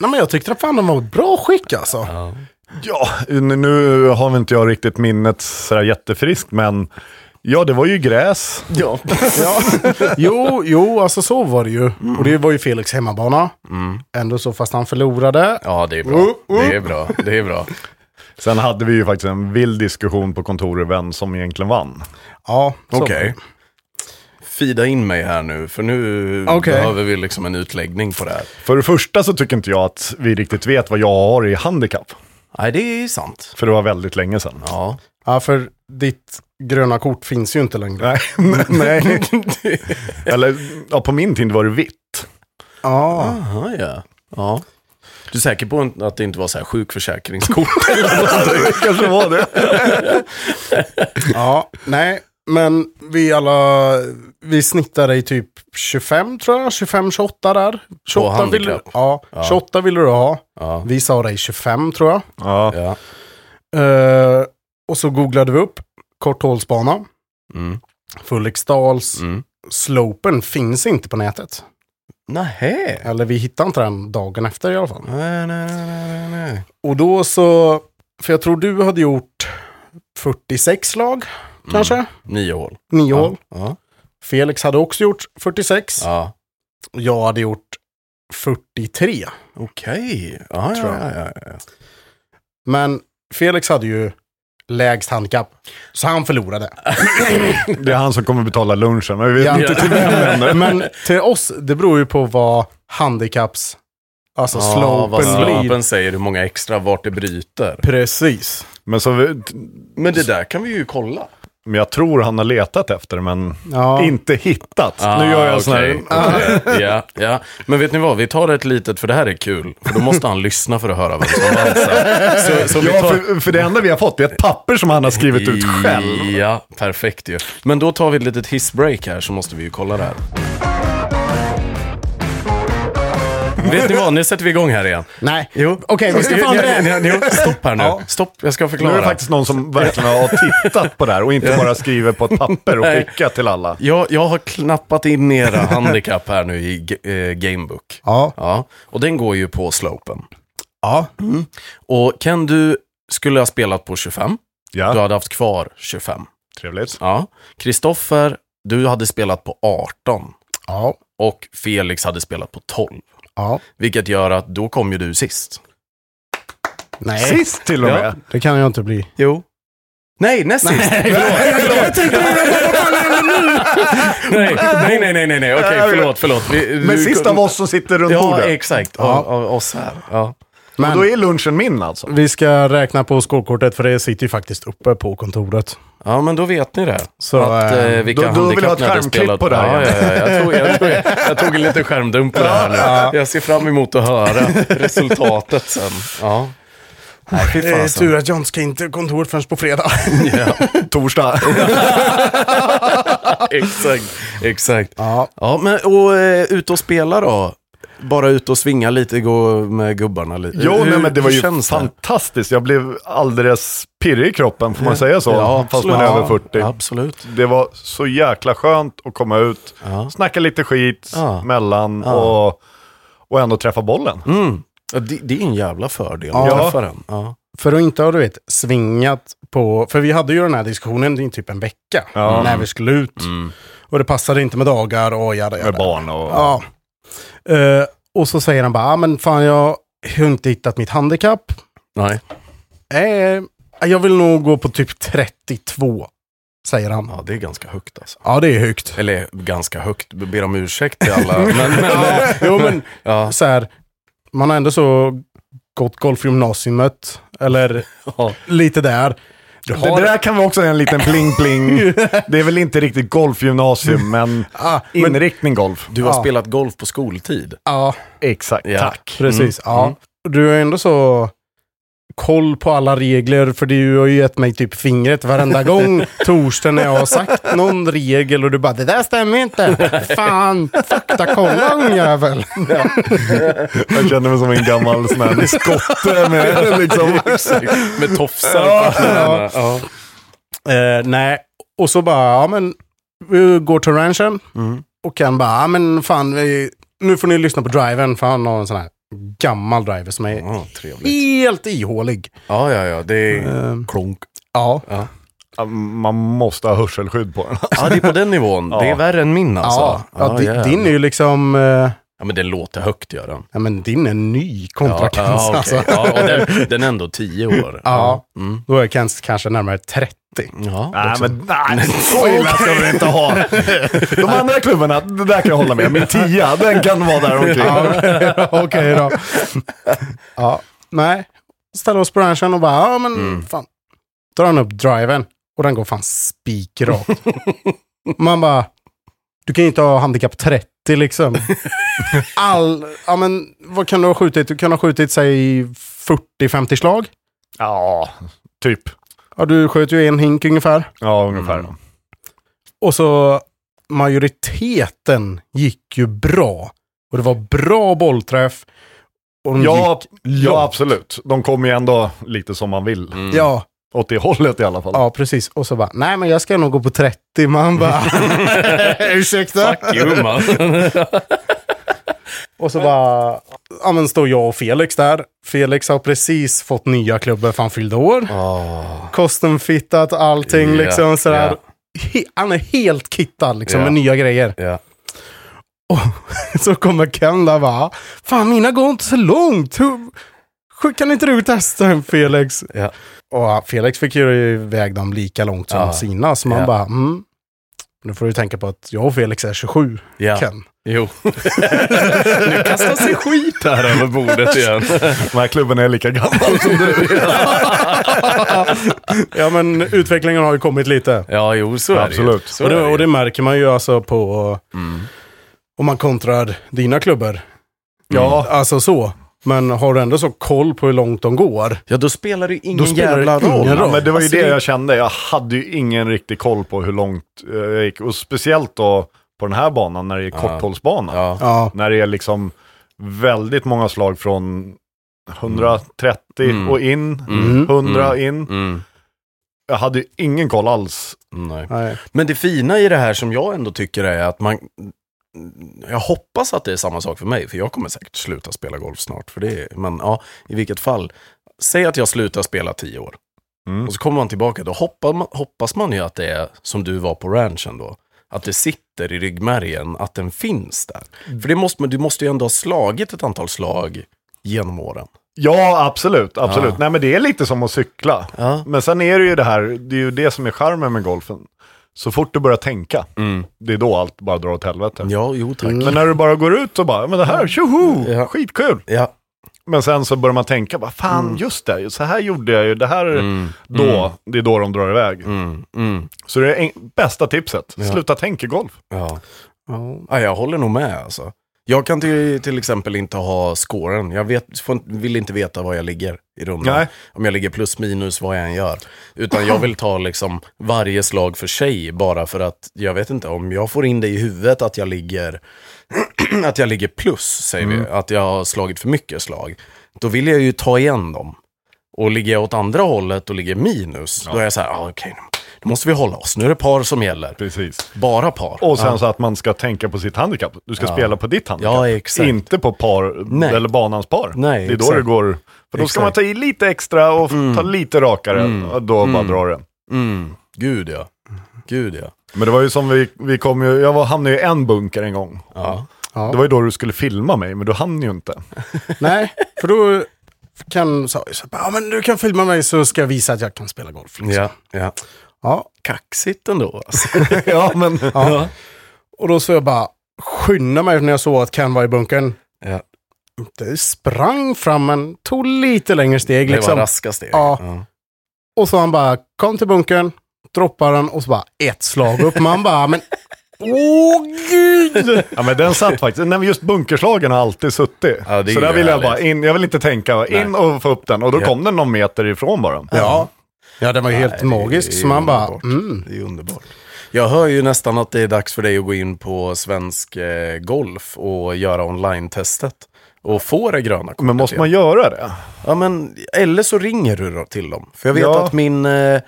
D: nej, men jag tyckte att fan de var i bra skick alltså.
C: Ja, nu har väl inte jag riktigt minnet sådär jättefriskt, men ja, det var ju gräs.
B: Ja.
D: Ja. jo, jo, alltså så var det ju. Och det var ju Felix hemmabana. Ändå så, fast han förlorade.
B: ja, det är bra. Det är bra. Det är bra.
C: Sen hade vi ju faktiskt en vild diskussion på kontoret vem som egentligen vann.
D: Ja,
B: *laughs*
D: så.
B: Okej. Fida in mig här nu, för nu
D: Okej.
B: behöver vi liksom en utläggning på det här.
C: För det första så tycker inte jag att vi riktigt vet vad jag har i handikapp.
B: Nej, det är sant.
C: För det var väldigt länge sedan.
B: Ja.
D: Ja, för ditt gröna kort finns ju inte längre.
C: Nej, *laughs*
D: *laughs*
C: nej. Eller ja, på min tid var det vitt. *laughs*
D: Ja,
B: Aha, ja. ja. Du är säker på att det inte var så här *laughs* sjukförsäkringskort eller någonting?
C: Det kanske var det.
D: ja, nej. Men vi alla, vi snittade i typ 25 tror jag, 25-28 där. 28 vill, du-
B: handikapp.
D: ja, 28 ville du ha.
B: Ja.
D: Vi sa dig 25 tror jag.
C: Ja.
B: ja.
D: Eh, och så googlade vi upp korthålsbana.
B: Mm.
D: Fulriksdals.
B: Mm.
D: Slopen finns inte på nätet.
B: Nähä.
D: Eller vi hittade inte den dagen efter i alla fall.
B: Nej, nej, nej, nej, nej.
D: Och då så, för jag tror du hade gjort 46 slag kanske,
B: Nio hål.
D: nio
B: Mm. Ja.
D: hål.
B: Ja.
D: Felix hade också gjort 46.
B: ja.
D: Och jag hade gjort 43.
B: Okej. Ja,
D: Tror
B: ja,
D: jag.
B: ja, ja, ja.
D: Men Felix hade ju lägst handikapp, så han förlorade.
C: Det är han som kommer betala lunchen, men vi vet
D: Ja.
C: inte till vem ännu.
D: Men till oss, det beror ju på vad handikapps, alltså
B: Ja, vad
D: slopen blir.
B: slopen säger, hur många extra, vart det bryter.
D: Precis.
C: Men, så, vi-
B: Men det där kan vi ju kolla.
C: men jag tror han har letat efter, men
D: Ja.
C: inte hittat. nu gör jag en sån här...
B: Ah,
C: Ah.
B: okej, okej. Ja, ja. Men vet ni vad, vi tar ett litet, för det här är kul. För då måste han lyssna för att höra vem som vann sen. Så, så vi
C: Ja,
B: tar...
C: för, för det enda vi har fått är ett papper som han har skrivit ut själv.
B: Ja, perfekt ju. Men då tar vi ett litet hissbreak här så måste vi ju kolla det här. Vet ni vad, nu sätter vi igång här igen.
D: Nej.
B: Jo.
D: Okej, vi ska *laughs* fan
B: Ja,
D: det.
B: ja, ja, Stopp här nu.
D: Ja.
B: Stopp, jag ska
C: Nu är det
B: förklara.
C: faktiskt någon som verkligen har tittat på det här och inte bara skriver på ett papper och
B: Nej.
C: skickar till alla.
B: Jag, jag har knappat in era handikapp här nu i g- eh, Gamebook.
D: Ja.
B: Ja, och den går ju på slopen.
D: Ja.
B: Och Ken, du skulle ha spelat på 25. Du
C: Ja,
B: hade haft kvar 25.
C: trevligt.
B: Ja. Kristoffer, du hade spelat på 18.
D: Ja.
B: Och Felix hade spelat på 12.
D: Ja.
B: Vilket gör att då kom ju du sist.
D: Nej.
C: Sist till och
B: Ja.
C: med.
D: Det kan jag inte bli.
B: Jo. Nej, näst sist. Nej, nej, nej, nej, nej, nej. Okej, förlåt, förlåt. Vi,
C: Men
B: du-
C: sist av oss som sitter runt
B: Ja,
C: bordet.
B: exakt. Av, av oss här. Ja.
C: Och då är lunchen min
B: Mm.
C: alltså.
D: Vi ska räkna på skolkortet för det sitter ju faktiskt uppe på kontoret.
B: ja, men då vet ni det.
D: Så,
B: att,
D: eh,
B: eh, vilka
C: då- då vill
B: handikapp
C: jag ha ett
B: ni hade
C: skärmklipp
B: spelat.
C: på det
B: ja,
C: här
B: ja, ja, jag, tog, jag, tog, jag tog en liten skärmdump på det här nu. Jag ser fram emot att höra resultatet sen. Ja. Nej, fy
D: Det är
C: alltså.
B: fasen.
D: tur att jag inte ska in till kontoret förrän på fredag.
C: *laughs* Torsdag.
B: *laughs* Exakt, exakt.
D: Ja.
B: Ja, men och eh, ut och spela då? Bara ut och svinga lite, gå med gubbarna lite.
C: Jo, nej, men det var
B: hur
C: ju
B: känns
C: fantastiskt. Jag blev alldeles pirrig i kroppen, får man säga så?
B: Ja,
C: Fast man är
B: absolut.
C: över 40.
B: Absolut.
C: Det var så jäkla skönt att komma ut,
B: Ja.
C: snacka lite skit
B: Ja.
C: mellan och, och ändå träffa bollen.
B: Mm. Ja, det, det är en jävla fördel
D: Ja.
B: ja. för en. Ja.
D: För att inte ha, du vet, svingat på... För vi hade ju den här diskussionen i typ en vecka.
C: Ja.
D: När vi skulle ut. Och det passade inte med dagar och jada
C: Med
D: jada.
C: barn och...
D: Ja. Eh, och så säger han bara, "Ah, men fan jag har inte hittat mitt handikapp.
B: Nej.
D: Eh, jag vill nog gå på typ 32. Säger han.
B: Ja, det är ganska högt alltså.
D: Ja, det är högt.
B: Eller ganska högt, ber om ursäkt till alla. men, men,
D: *laughs* Ja, jo, men
B: ja.
D: så här, man har ändå så gått golfgymnasiet, eller
B: Ja.
D: lite där.
C: Det, där kan vara också en liten pling-pling. Det är väl inte riktigt golfgymnasium, men
D: Ah, men,
C: inriktning golf.
B: Du har
D: Ja.
B: spelat golf på skoltid.
D: ja,
C: Exakt,
B: Ja. *laughs*
C: tack.
D: precis. Ja. Mm. Du har ändå så koll på alla regler, för du har ju gett mig typ fingret *laughs* varenda gång torsdag när jag har sagt någon regel och du bara “det där stämmer inte”. *laughs* Fan, faktakolla ungjävel.
C: Jag känner mig som en gammal sån här skotte *laughs* med liksom...
B: Med tofsar på knäna. Ja.
D: Eh, nej, och så bara, ja men, vi går till ranchen. Och kan bara, ja men fan, vi, nu får ni lyssna på driven, för han har en sån här gammal driver som är
B: Ja, trevligt.
D: helt ihålig.
B: Ja, ja, ja. Det är
D: Eh,
B: klonk.
D: ja.
C: Man måste ha hörselskydd på den.
B: Ja, det är på den nivån. Det är
C: Ja.
B: värre än min alltså.
D: ja, ja, di-
B: jävlar.
D: din är ju liksom, eh,
B: Ja, men den låter högt gör den.
D: ja men din är ny
B: Ja,
D: kontra Kans
B: ja,
D: alltså.
B: okej. ja, och den, den är ändå tio år.
D: Ja.
B: Mm.
D: Då är Kans kanske närmare 30.
B: Ja,
C: Nej,
B: också.
C: men nej, så illa ska vi inte ha. De andra klubborna, det där kan jag hålla med. Min tia, den kan vara där omkring.
D: Ja, okej då, *laughs* Okej då. Ja, nej. Ställer oss på ranchen och bara, ja men fan. Drar han upp driven och den går fan spikrakt. Man bara, du kan ju inte ha handikapp 30 liksom. All, ja men vad kan du ha skjutit? Du kan ha skjutit sig 40-50 slag.
C: Ja, typ.
D: Ja, du sköt ju en hink ungefär.
C: Ja, ungefär. Mm.
D: Och så majoriteten gick ju bra. Och det var bra bollträff. Och de gick,
C: Ja, ja, absolut. De kommer ju ändå lite som man vill.
B: Mm.
D: ja,
C: Åt det hållet i alla fall.
D: ja, precis. Och så bara, nej men jag ska nog gå på 30. Man bara, *laughs* ursäkta?
B: Jo, *laughs* man.
D: Och så bara, ja men står jag och Felix där. Felix har precis fått nya klubbor för han fyllde år. Custom fittat, allting
B: Ja,
D: liksom sådär.
B: ja.
D: He- han är helt kittad liksom
B: Ja.
D: med nya grejer.
B: Ja.
D: Så kommer Ken där bara, fan mina går inte så långt. Hur... Kan inte du testa en Felix?
B: Ja.
D: Och Felix fick ju iväg dem lika långt som
B: Ja.
D: sina, så man
B: Ja.
D: bara, mm. Nu får du tänka på att jag och Felix är 27,
B: ja.
D: Ken.
B: Jo. *laughs* nu kastas det skit här över bordet igen.
C: Den här klubben är lika gammal som du.
D: Ja men utvecklingen har ju kommit lite.
B: Ja, jo, så är det ju.
C: Absolut.
B: Så
D: och,
B: är
D: det,
B: ju. Mm.
D: och det märker man ju alltså på, om man kontrar dina klubbor.
C: Ja.
D: Alltså så. Men har du ändå så koll på hur långt de går?
B: Ja, då spelar det ingen
D: Då spelar det
B: jävla roll.
D: ingen roll.
C: Ja, men det var ju
B: Alltså,
C: det jag kände. Jag hade ju ingen riktig koll på hur långt eh, jag gick. Och speciellt då på den här banan när det är korthållsbana.
B: Ja.
D: Ja.
C: När det är liksom väldigt många slag från 130
B: Mm.
C: och in,
D: Mm.
C: 100 in.
B: Mm.
C: Jag hade ju ingen koll alls.
B: Nej.
D: Nej.
B: Men det fina i det här som jag ändå tycker är att man... Jag hoppas att det är samma sak för mig, för jag kommer säkert sluta spela golf snart. För det är, men ja, i vilket fall. Säg att jag slutar spela tio år.
C: Mm.
B: Och så kommer man tillbaka, då hoppa, hoppas man ju att det är som du var på ranchen då. Att det sitter i ryggmärgen, att den finns där. För det måste, man- du måste ju ändå ha slagit ett antal slag genom åren.
C: Ja, absolut. absolut.
B: Ja.
C: Nej, men det är lite som att cykla.
B: Ja.
C: Men sen är det ju det här, det är ju det som är charmen med golfen. Så fort du börjar tänka, det är då allt bara drar åt helvete.
B: Mm. Ja, jo tack.
C: Men när du bara går ut och bara, men det här, tjoho,
B: Ja.
C: skitkul.
B: Ja.
C: Men sen så börjar man tänka, vad fan,
B: Mm.
C: just det, så här gjorde jag ju, det här, då, det är då de drar iväg.
B: Mm, mm,
C: Så det är en, bästa tipset, sluta tänka golf.
B: ja.
D: Ja.
B: Ja, jag håller nog med alltså. Jag kan till, till exempel inte ha scoren. Jag vet, får, inte- vill inte veta var jag ligger i rummet.
C: Nej.
B: Om jag ligger plus minus, vad jag än gör. Utan jag vill ta liksom varje slag för sig, bara för att jag vet inte, om jag får in det i huvudet att jag ligger, *clears throat* att jag ligger plus, säger vi, att jag har slagit för mycket slag, då vill jag ju ta igen dem. Och ligger jag åt andra hållet och ligger minus, då är jag så här, ah, okej, då måste vi hålla oss. Nu är det par som gäller.
C: Precis.
B: Bara par.
C: Och sen så att man ska tänka på sitt handikapp. Du ska spela på ditt handikapp.
B: Ja, exakt.
C: Inte på par,
B: Nej.
C: eller banans par.
B: Nej,
C: det är
B: exakt.
C: då det går. För då ska
B: Exakt.
C: man ta i lite extra och ta lite rakare. Och då bara drar det.
B: Mm, gud ja. Gud ja.
C: Men det var ju som vi, vi kom ju, jag var, hamnade ju i en bunker en gång.
B: Ja.
D: Ja.
C: Det var ju då du skulle filma mig, men du hann ju
B: *laughs*
C: inte.
D: Nej, för då kan så, så, bara, ja, men du kan filma mig så ska jag visa att jag kan spela golf. Liksom.
B: ja, ja.
D: Ja,
B: Kaxigt ändå. Alltså.
C: ja, men... *laughs*
D: ja. Och då så jag bara skynda mig när jag såg att Ken var i bunkern.
B: Ja.
D: Det sprang fram men tog lite längre steg
B: Det var
D: liksom.
B: raska steg.
D: Ja. Och så han bara, kom till bunkern, droppar den och så bara ett slag upp. Man bara, men åh gud!
C: *laughs* Ja men den satt faktiskt. Nej, men just bunkerslagen har alltid suttit.
B: Ja, det är
C: så
B: ju
C: där vill jag bara
B: härligt.
C: in, jag vill inte tänka, in och få upp den. Och då
B: Ja.
C: kom den någon meter ifrån bara.
B: Ja.
D: Ja, den var ju helt magisk. Så man bara, mm.
B: Det är underbart. Jag hör ju nästan att det är dags för dig att gå in på Svensk eh, Golf och göra online-testet. Och få det gröna kortet.
C: Men måste
B: igen.
C: man göra det?
B: Ja, men, eller så ringer du då till dem. För jag vet
C: Ja.
B: att min, eh,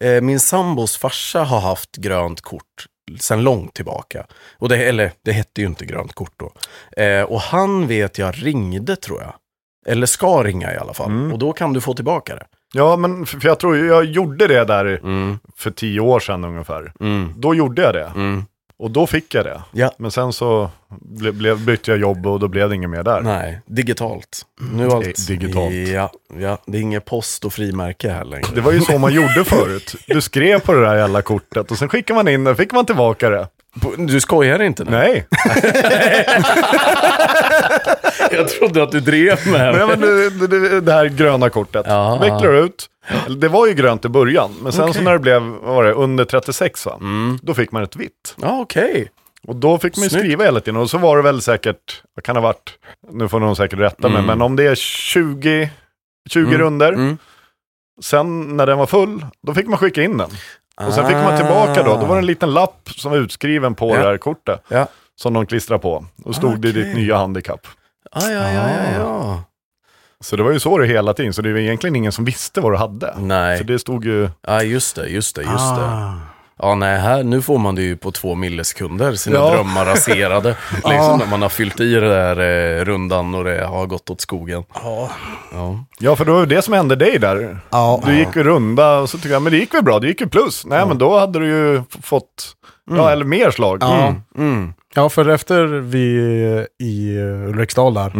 B: eh, min sambos farsa har haft grönt kort sedan långt tillbaka. Och det, eller det hette ju inte grönt kort då. Eh, och han vet jag ringde tror jag. Eller ska ringa i alla fall.
C: Mm.
B: Och då kan du få tillbaka det.
C: Ja, men f- för jag tror ju- jag gjorde det där för tio år sedan ungefär. Då gjorde jag det. Och då fick jag det.
B: Ja.
C: Men sen så ble, ble, bytte jag jobb och då blev det inget mer där.
B: Nej, digitalt. Nu är allt.
C: Di- Eh, digitalt.
B: Ja, ja, det är inget post och frimärke här längre.
C: Det var ju så man gjorde förut. Du skrev på det där jävla kortet och sen skickade man in det, fick man tillbaka det.
B: Du skojar inte nu?
C: Nej,
B: *laughs* Jag trodde att du drev med
C: Nej men det, det, det här gröna kortet.
B: Ja.
C: Vecklar ut. Eller, Det var ju grönt i början, men sen så när det blev, vad var det, under 36 va? Då fick man ett vitt.
B: Ja, okej.
C: Och då fick man ju
B: Snyggt.
C: skriva hela tiden och så var det väl säkert, vad kan det ha varit, nu får någon säkert rätta mig, men om det är 20, 20 runder
B: Mm.
C: sen när den var full, då fick man skicka in den. Och sen fick man tillbaka då, då var det en liten lapp som var utskriven på
B: Ja.
C: det här kortet.
B: Ja.
C: Som de klistrade på. Och stod det i ditt nya handikapp.
B: Ah, ja, ja, ja, ja.
C: Så det var ju så det hela tiden, så det var egentligen ingen som visste vad du hade. Så
B: Nej,
C: Ah. det Ah. stod ju...
B: ja, just det, just det, just det.
D: Ah.
B: Ja, nej, här, nu får man det ju på två millisekunder, sina
C: Ja.
B: drömmar raserade.
C: *laughs*
B: liksom
D: Ja.
B: när man har fyllt i det där eh, rundan och det har gått åt skogen. Ja.
C: Ja, för det var ju det som hände dig där.
D: Ja.
C: Du gick ju runda och så tyckte jag, men det gick väl bra, det gick ju plus. Nej, men då hade du ju f- fått, ja, eller mer slag.
D: Ja.
B: Mm.
D: ja, för efter vi eh, i eh, Ulriksdal där,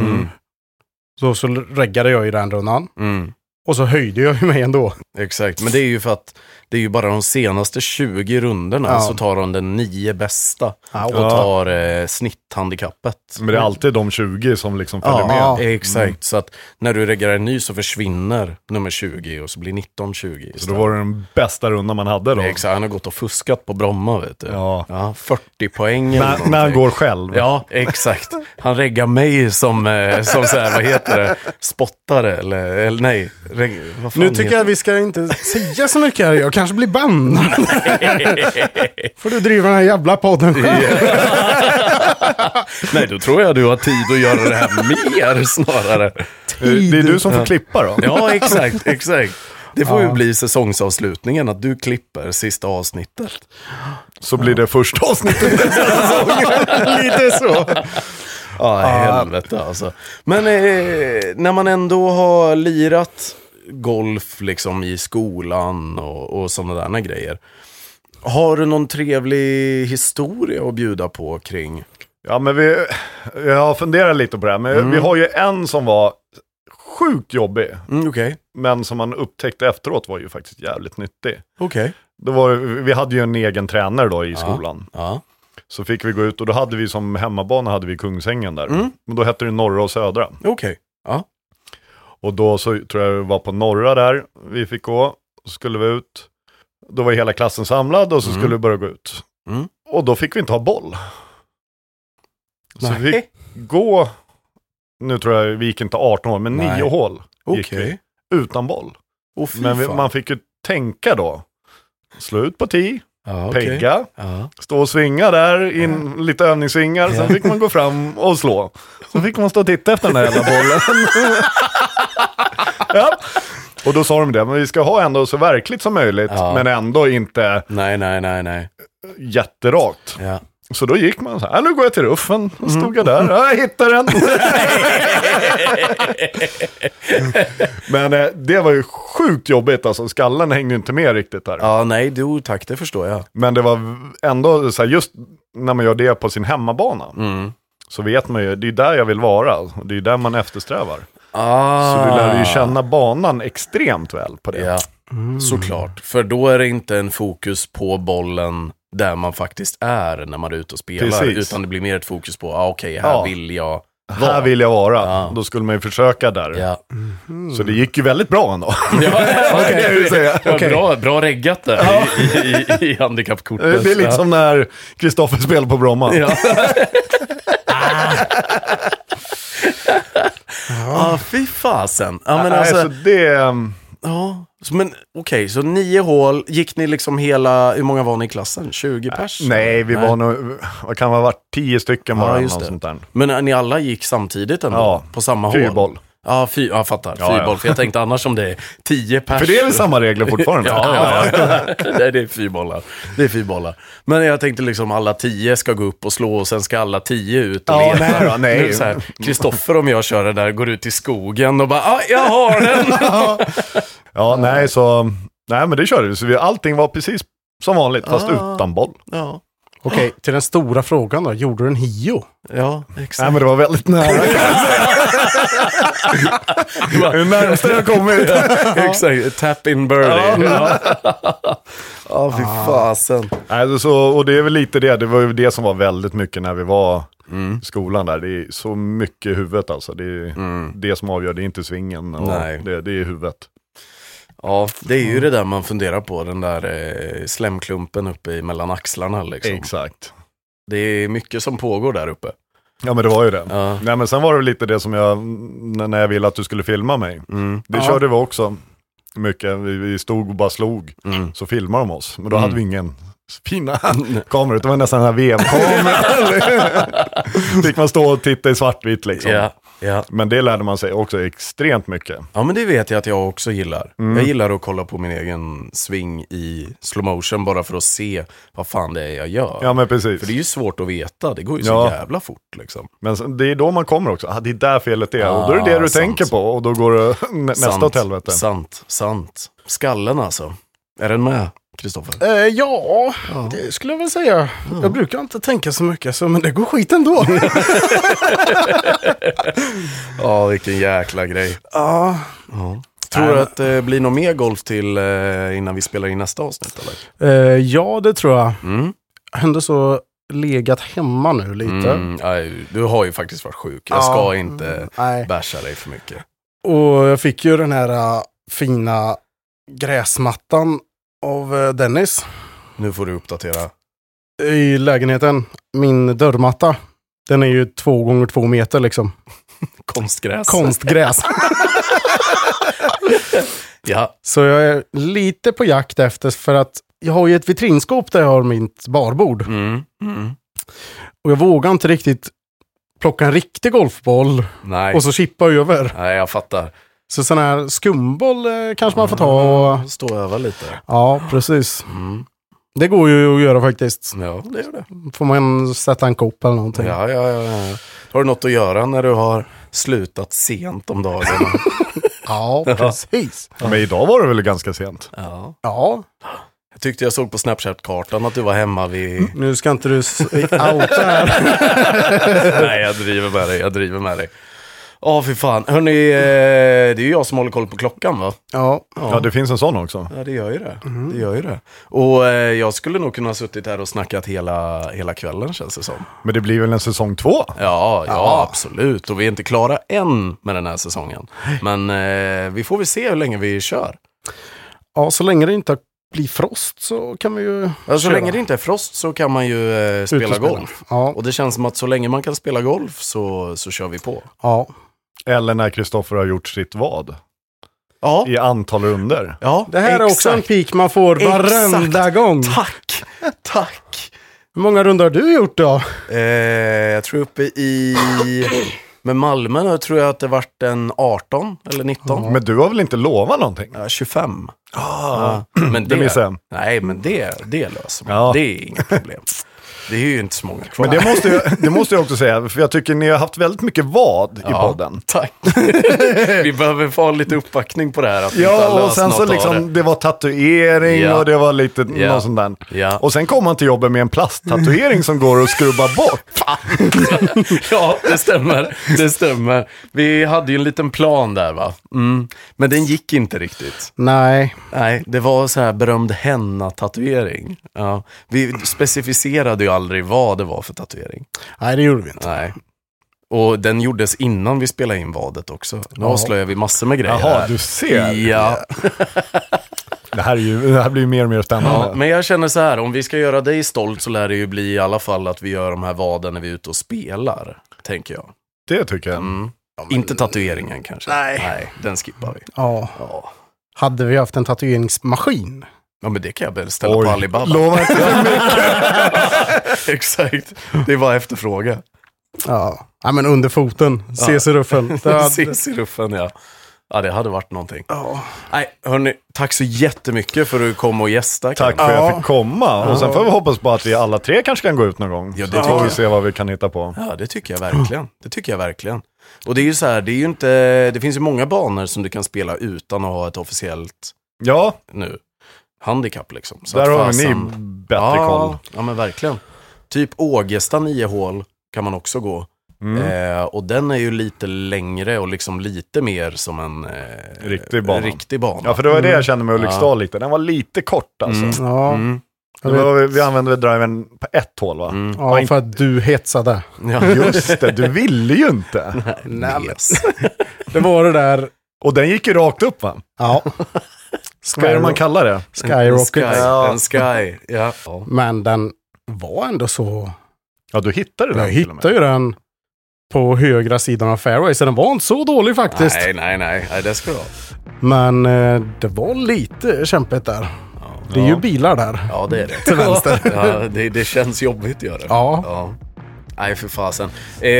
D: så, så reggade jag i den rundan.
B: Mm.
D: Och så höjde jag ju mig ändå.
B: Exakt, men det är ju för att det är ju bara de senaste 20 rundorna
D: Ja.
B: så tar de den nio bästa och
C: Ja.
B: tar eh, snitthandikappet.
C: Men det är alltid de 20 som liksom följer
B: Ja,
C: med. Mm.
D: Ja.
B: exakt. Så att när du reggar en ny så försvinner nummer 20 och så blir 19 20
C: Så då var det den bästa rundan man hade då.
B: Exakt, han har gått och fuskat på Bromma vet du.
C: Ja.
B: Ja, 40 poäng eller
C: När, när han
B: någonting.
C: går själv.
B: Ja, exakt. Han reggar mig som, eh, som så här, vad heter det, spottare eller, eller nej. Reg, vad fan
D: Nu tycker jag att vi ska inte säga så mycket här. Jag kanske blir *laughs* bannad. Får du driva den här jävla podden själv.
B: Nej, då tror jag du har tid att göra det här mer snarare.
C: Det är du som får klippa då.
B: Ja, exakt, exakt. Det får ju bli säsongsavslutningen, att du klipper sista avsnittet.
C: Så blir det första avsnittet.
B: Lite så. Ja, helvete alltså. Men eh, när man ändå har lirat golf liksom i skolan och, och sådana där grejer. Har du någon trevlig historia att bjuda på kring?
C: Ja, men vi, jag funderar lite på det här, men vi har ju en som var sjukt jobbig,
B: Mm, Okej.
C: men som man upptäckte efteråt var ju faktiskt jävligt nyttig.
B: Okej.
C: Då var, vi hade ju en egen tränare då i skolan.
B: Ja.
C: Så fick vi gå ut och då hade vi som hemmabana hade vi Kungsängen där. Men då hette det norra och södra.
B: Mm, Okej. Ja.
C: Och då så tror jag vi var på norra där vi fick gå. Så skulle vi ut. Då var hela klassen samlad och så skulle vi börja gå ut.
B: Mm.
C: Och då fick vi inte ha boll. Så vi
B: Nej.
C: fick gå, nu tror jag vi gick inte 18 år, men
B: Nej.
C: nio hål gick vi
B: Okej.
C: utan boll.
B: Åh, fy
C: men vi,
B: fan.
C: man fick ju tänka då. Slå ut på 10,
B: ja, okej.
C: pegga,
B: Ja.
C: stå och svinga där, in lite övningssvingar, sen fick man gå fram och slå. Sen fick man stå och titta efter den där jävla bollen. ja. Och då sa de det, men vi ska ha ändå så verkligt som möjligt,
B: Ja.
C: men ändå inte
B: Nej, nej, nej, nej.
C: jätterakt.
B: Ja.
C: Så då gick man så här, nu går jag till ruffen, och stod jag där, ja, jag hittar den. men eh, det var ju sjukt jobbigt alltså, skallen hängde ju inte med riktigt där.
B: Ja, nej, du tack, det förstår jag.
C: Men det var v- ändå så här, just när man gör det på sin hemmabana.
B: Mm.
C: Så vet man ju, det är ju där jag vill vara. och Det är ju där man eftersträvar.
B: Ah.
C: Så du lär ju känna banan extremt väl på det.
B: Ja,
C: Mm.
B: såklart. För då är det inte en fokus på bollen där man faktiskt är när man är ute och spelar.
C: Precis.
B: Utan det blir mer ett fokus på, ah, okej, här
C: Ja.
B: vill jag
C: Här vill jag vara.
B: Ja.
C: Då skulle man ju försöka där. *laughs*
B: *laughs* Ja.
C: Så det gick ju väldigt bra ändå.
D: Okej.
C: Kan jag ju säga.
E: Ja,
D: Okej.
E: bra, bra reggat där i, i, i, i handikappkortet.
C: *laughs* Det liksom- är lite som när Kristoffer spelar på Bromma.
E: Ja.
B: Ah, fy fasen. Ja, men
C: Nej,
B: alltså,
C: så det... ehm,
B: ja. Så, men okej, så nio hål. Gick ni liksom hela, hur många var ni i klassen? 20 pers?
C: Äh, Nej, vi var nog... Vad kan det ha varit? Tio stycken
B: Ja,
C: bara. Ja,
B: just
C: något
B: det.
C: sånt där.
B: Men eh, ni alla gick samtidigt ändå?
C: Ja.
B: På samma hål?
C: Fyrboll.
B: Ja, fy, jag fattar.
C: Ja,
B: fyrboll.
C: ja.
B: För jag tänkte annars om det är tio pers.
C: För det är väl samma regler fortfarande?
B: Ja, ja, ja. *laughs* Nej, det är fyrbollar. Det är fyrbollar. Men jag tänkte liksom alla tio ska gå upp och slå och sen ska alla tio ut och
C: Ja,
B: leta.
C: nej då, nej.
B: Nu är det så här, Kristoffer om jag kör det där går ut i skogen och bara ah, jag
C: *laughs*
B: har den.
C: Ja, nej, så... Nej, men det körde vi. Så vi, allting var precis som vanligt, fast
B: Ah.
C: utan boll.
B: Ja,
D: Okej, till den stora frågan då. Gjorde du en hio?
B: ja
C: Nej,
B: exakt.
C: men det var väldigt nära. *laughs* Det är närmast jag kommit.
B: *laughs* exakt. Tap in birdie. Ja,
C: *laughs*
B: ah, fy fasen.
C: Nej, så, och det är väl lite det. Det var ju det som var väldigt mycket när vi var
B: Mm.
C: i skolan där. Det är så mycket i huvudet alltså. Det är
B: Mm.
C: det som avgör. Det är inte svingen. Och
B: Nej.
C: Det, det är huvudet.
B: Ja, det är ju det där man funderar på, den där eh, slemklumpen uppe i mellan axlarna liksom.
C: Exakt.
B: Det är mycket som pågår där uppe.
C: Ja, men det var ju det.
B: Ja.
C: Nej, men sen var det lite det som jag, n- när jag ville att du skulle filma mig.
B: Mm.
C: Det körde vi också mycket. Vi, vi stod och bara slog.
B: Mm.
C: Så filmade de oss. Men då hade vi ingen
B: *laughs*
C: fina kamera. utan Det var nästan den här
B: *laughs*
C: VM-kameran. Fick man stå och titta i svartvitt liksom.
B: Ja, ja.
C: Men det lärde man sig också extremt mycket.
B: Ja, men det vet jag att jag också gillar. Jag gillar att kolla på min egen swing i slow motion bara för att se vad fan det är jag gör.
C: Ja, men precis.
B: För det är ju svårt att veta, det går ju så
C: Ja.
B: jävla fort liksom.
C: Men sen- det är då man kommer också. Ah, det är där felet är. och då är det det du
B: sant.
C: tänker på och då går det *laughs* nä- nästa åt helvete.
B: Sant, sant. Skallen alltså. Är den med, Kristoffer?
D: Eh, ja, det skulle jag väl säga. Jag brukar inte tänka så mycket, så, men det går skit *laughs* ändå.
B: Ja, vilken jäkla grej.
D: ja,
B: Tror du att det blir något mer golf till eh, innan vi spelar in nästa avsnitt? Eller?
D: eh, ja, det tror jag.
B: Mm.
D: Ändå så legat hemma nu lite.
B: Mm, nej, du har ju faktiskt varit sjuk. Jag
D: Ja. Mm,
B: ska inte
D: Nej.
B: basha dig för mycket.
D: Och jag fick ju den här äh, fina gräsmattan av äh, Dennis
B: Nu får du uppdatera.
D: i lägenheten. Min dörrmatta. Den är ju två gånger två meter liksom.
B: Konstgräs.
D: Konstgräs.
B: Ja.
D: Så jag är lite på jakt efter för att jag har ju ett vitrinskåp där jag har mitt barbord.
B: Mm. Mm.
D: Och jag vågar inte riktigt plocka en riktig golfboll
B: Nej.
D: och så chippa över.
B: Nej, jag fattar.
D: Så sån här skumboll eh, kanske man får ta. Och...
B: Stå och öva lite.
D: Ja, precis.
B: Mm.
D: Det går ju att göra faktiskt.
B: Ja, det gör det.
D: Får man sätta en kopp eller någonting.
B: Ja, ja, ja, ja. Har du något att göra när du har slutat sent om *laughs* dagarna? *laughs*
D: Ja, precis.
C: Men idag var det väl ganska sent.
B: ja.
D: Ja,
B: Jag tyckte jag såg på Snapchat-kartan att du var hemma vid...
D: nu ska inte du s- outa här.
B: *laughs*
D: *laughs*
B: Nej, jag driver med dig. Jag driver med dig. Ja, fy fan. Hörni, eh, det är ju jag som håller koll på klockan, va?
D: Ja,
C: Ja, det finns en sån också.
B: Ja, det gör ju det.
D: Mm.
B: Det gör ju det. Och eh, jag skulle nog kunna ha suttit här och snackat hela, hela kvällen, känns det som.
C: Men det blir väl en säsong två?
B: Ja, ja, absolut. Och vi är inte klara än med den här säsongen. Men eh, vi får väl se hur länge vi kör.
D: ja, så länge det inte blir frost så kan vi ju...
B: Ja, Alltså, så
D: Köra.
B: länge det inte är frost så kan man ju eh,
D: ut och
B: spela golf.
D: Ja,
B: Och det känns som att så länge man kan spela golf så, så kör vi på.
D: ja.
C: Eller när Kristoffer har gjort sitt vad?
B: Ja,
C: I antal runder.
B: ja
D: Det här är också en
B: exakt.
D: pik man får varenda
B: Exakt.
D: gång.
B: Tack, tack.
D: Hur många runder har du gjort då?
B: Eh, jag tror uppe i... Med Malmö nu tror jag att det vart en 18 eller 19.
C: Men du har väl inte lovat någonting?
B: Ja, 25. Ja, Ah, *clears throat* men
C: det missade jag.
B: Nej, men det, det löser man.
C: Ja.
B: Det är inget problem. Det är ju inte så många kvar.
C: Men det måste, jag, det måste jag också säga, för jag tycker ni har haft väldigt mycket vad i
B: Ja,
C: podden.
B: *laughs* Tack. Vi behöver få lite uppbackning på det här. Att vi inte har
C: Ja, och
B: löst
C: sen så
B: något av
C: liksom, det. var tatuering
B: Ja.
C: och det var lite
B: Ja.
C: någon sån där.
B: Ja.
C: Och sen kom han till jobbet med en plasttatuering som går att skrubba bort.
B: *laughs* Ja, det stämmer. Det stämmer. Vi hade ju en liten plan där, va? Mm. Men den gick inte riktigt.
D: Nej,
B: Nej, det var så här berömd henna-tatuering. Ja. Vi specificerade ju aldrig vad det var för tatuering.
D: nej det gjorde vi inte.
B: Nej. Och den gjordes innan vi spelade in vadet också. Nu avslöjar vi massor med grejer
C: *laughs* Jaha,
B: här.
C: du ser.
B: Ja,
C: Det här, är ju, det här blir ju mer och mer spännande.
B: Ja, men jag känner så här, om vi ska göra dig stolt så lär det ju bli i alla fall att vi gör de här vaden när vi är ute och spelar, tänker jag.
C: Det tycker jag.
B: Mm. Inte tatueringen kanske. Nej. den skippar vi.
D: Ja.
B: Ja.
D: Hade vi haft en tatueringsmaskin?
B: Ja, men det kan jag väl ställa på Alibaba.
C: Lova inte.
B: *laughs* Exakt. Det var efterfråga.
D: Ja. ja, men under foten.
B: *laughs*
D: CC-ruffen. Det hade-
B: Ses i ruffen, ja. Ja, det hade varit någonting. Nej, hörni, tack så jättemycket för att du kom och gästa.
C: Tack för
B: Karin.
C: att jag
D: Ja.
C: fick komma. Och sen får vi hoppas på att vi alla tre kanske kan gå ut någon gång.
B: Ja, det
C: så
B: tycker
C: får vi
B: jag.
C: se vad vi kan hitta på.
B: Ja, det tycker jag verkligen. Det tycker jag verkligen. Och det är ju så här, det är ju inte, det finns ju många banor som du kan spela utan att ha ett officiellt
C: Ja,
B: nu. Handikapp liksom. Så
C: där
B: att
C: har ni
B: fasen-
C: bättre
B: ja,
C: koll.
B: Ja, men verkligen. Typ Ågesta nio hål kan man också gå.
C: Mm.
B: Eh, och den är ju lite längre och liksom lite mer som en eh,
C: Riktig bana.
B: riktig bana.
C: Mm. Ja, för det var det jag kände med Ulriksdal lite. Den var lite kort alltså.
D: Ja.
B: Mm.
C: Det var, vi använde väl drivern på ett hål va?
D: ja, för att du hetsade.
B: mm.
C: *laughs*
B: Ja.
C: Just det, du ville ju inte. *laughs*
B: Yes.
D: Det var det där.
C: Och den gick ju rakt upp va?
D: Ja.
C: Vad är det man kallar det?
D: Skyrocket.
B: En sky.
C: Ja.
B: En sky. Ja. Ja.
D: Men den var ändå så...
C: Ja, du hittade den
D: Jag
C: till och med.
D: hittade ju den på högra sidan av fairway, så den var inte så dålig faktiskt.
B: Nej, nej, nej, nej. Det ska du ha.
D: Men eh, det var lite kämpigt där. Det är ju bilar där.
B: Ja, det är det. Till vänster. *laughs* Ja, det, det känns jobbigt gör det.
D: Ja.
B: Nej, för fasen. Eh,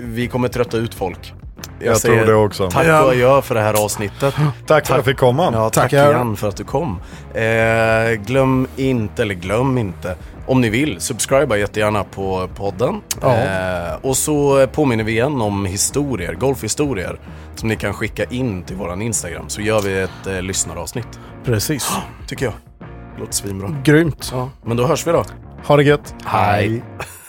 B: vi kommer trötta ut folk. Jag,
C: tror det också.
B: Tack och adjö för det här avsnittet.
C: Tack för att jag fick komma.
B: Ja, tack
D: Tackar.
B: igen för att du kom. Eh, glöm inte, eller glöm inte, om ni vill, subscriba jättegärna på podden.
D: Ja.
B: Eh, och så påminner vi igen om historier, golfhistorier, som ni kan skicka in till våran Instagram. Så gör vi ett eh, lyssnaravsnitt,
D: Precis.
B: tycker jag. Låter svinbra.
D: Grymt.
B: Men då hörs vi då.
D: Ha det gött.
B: Hej.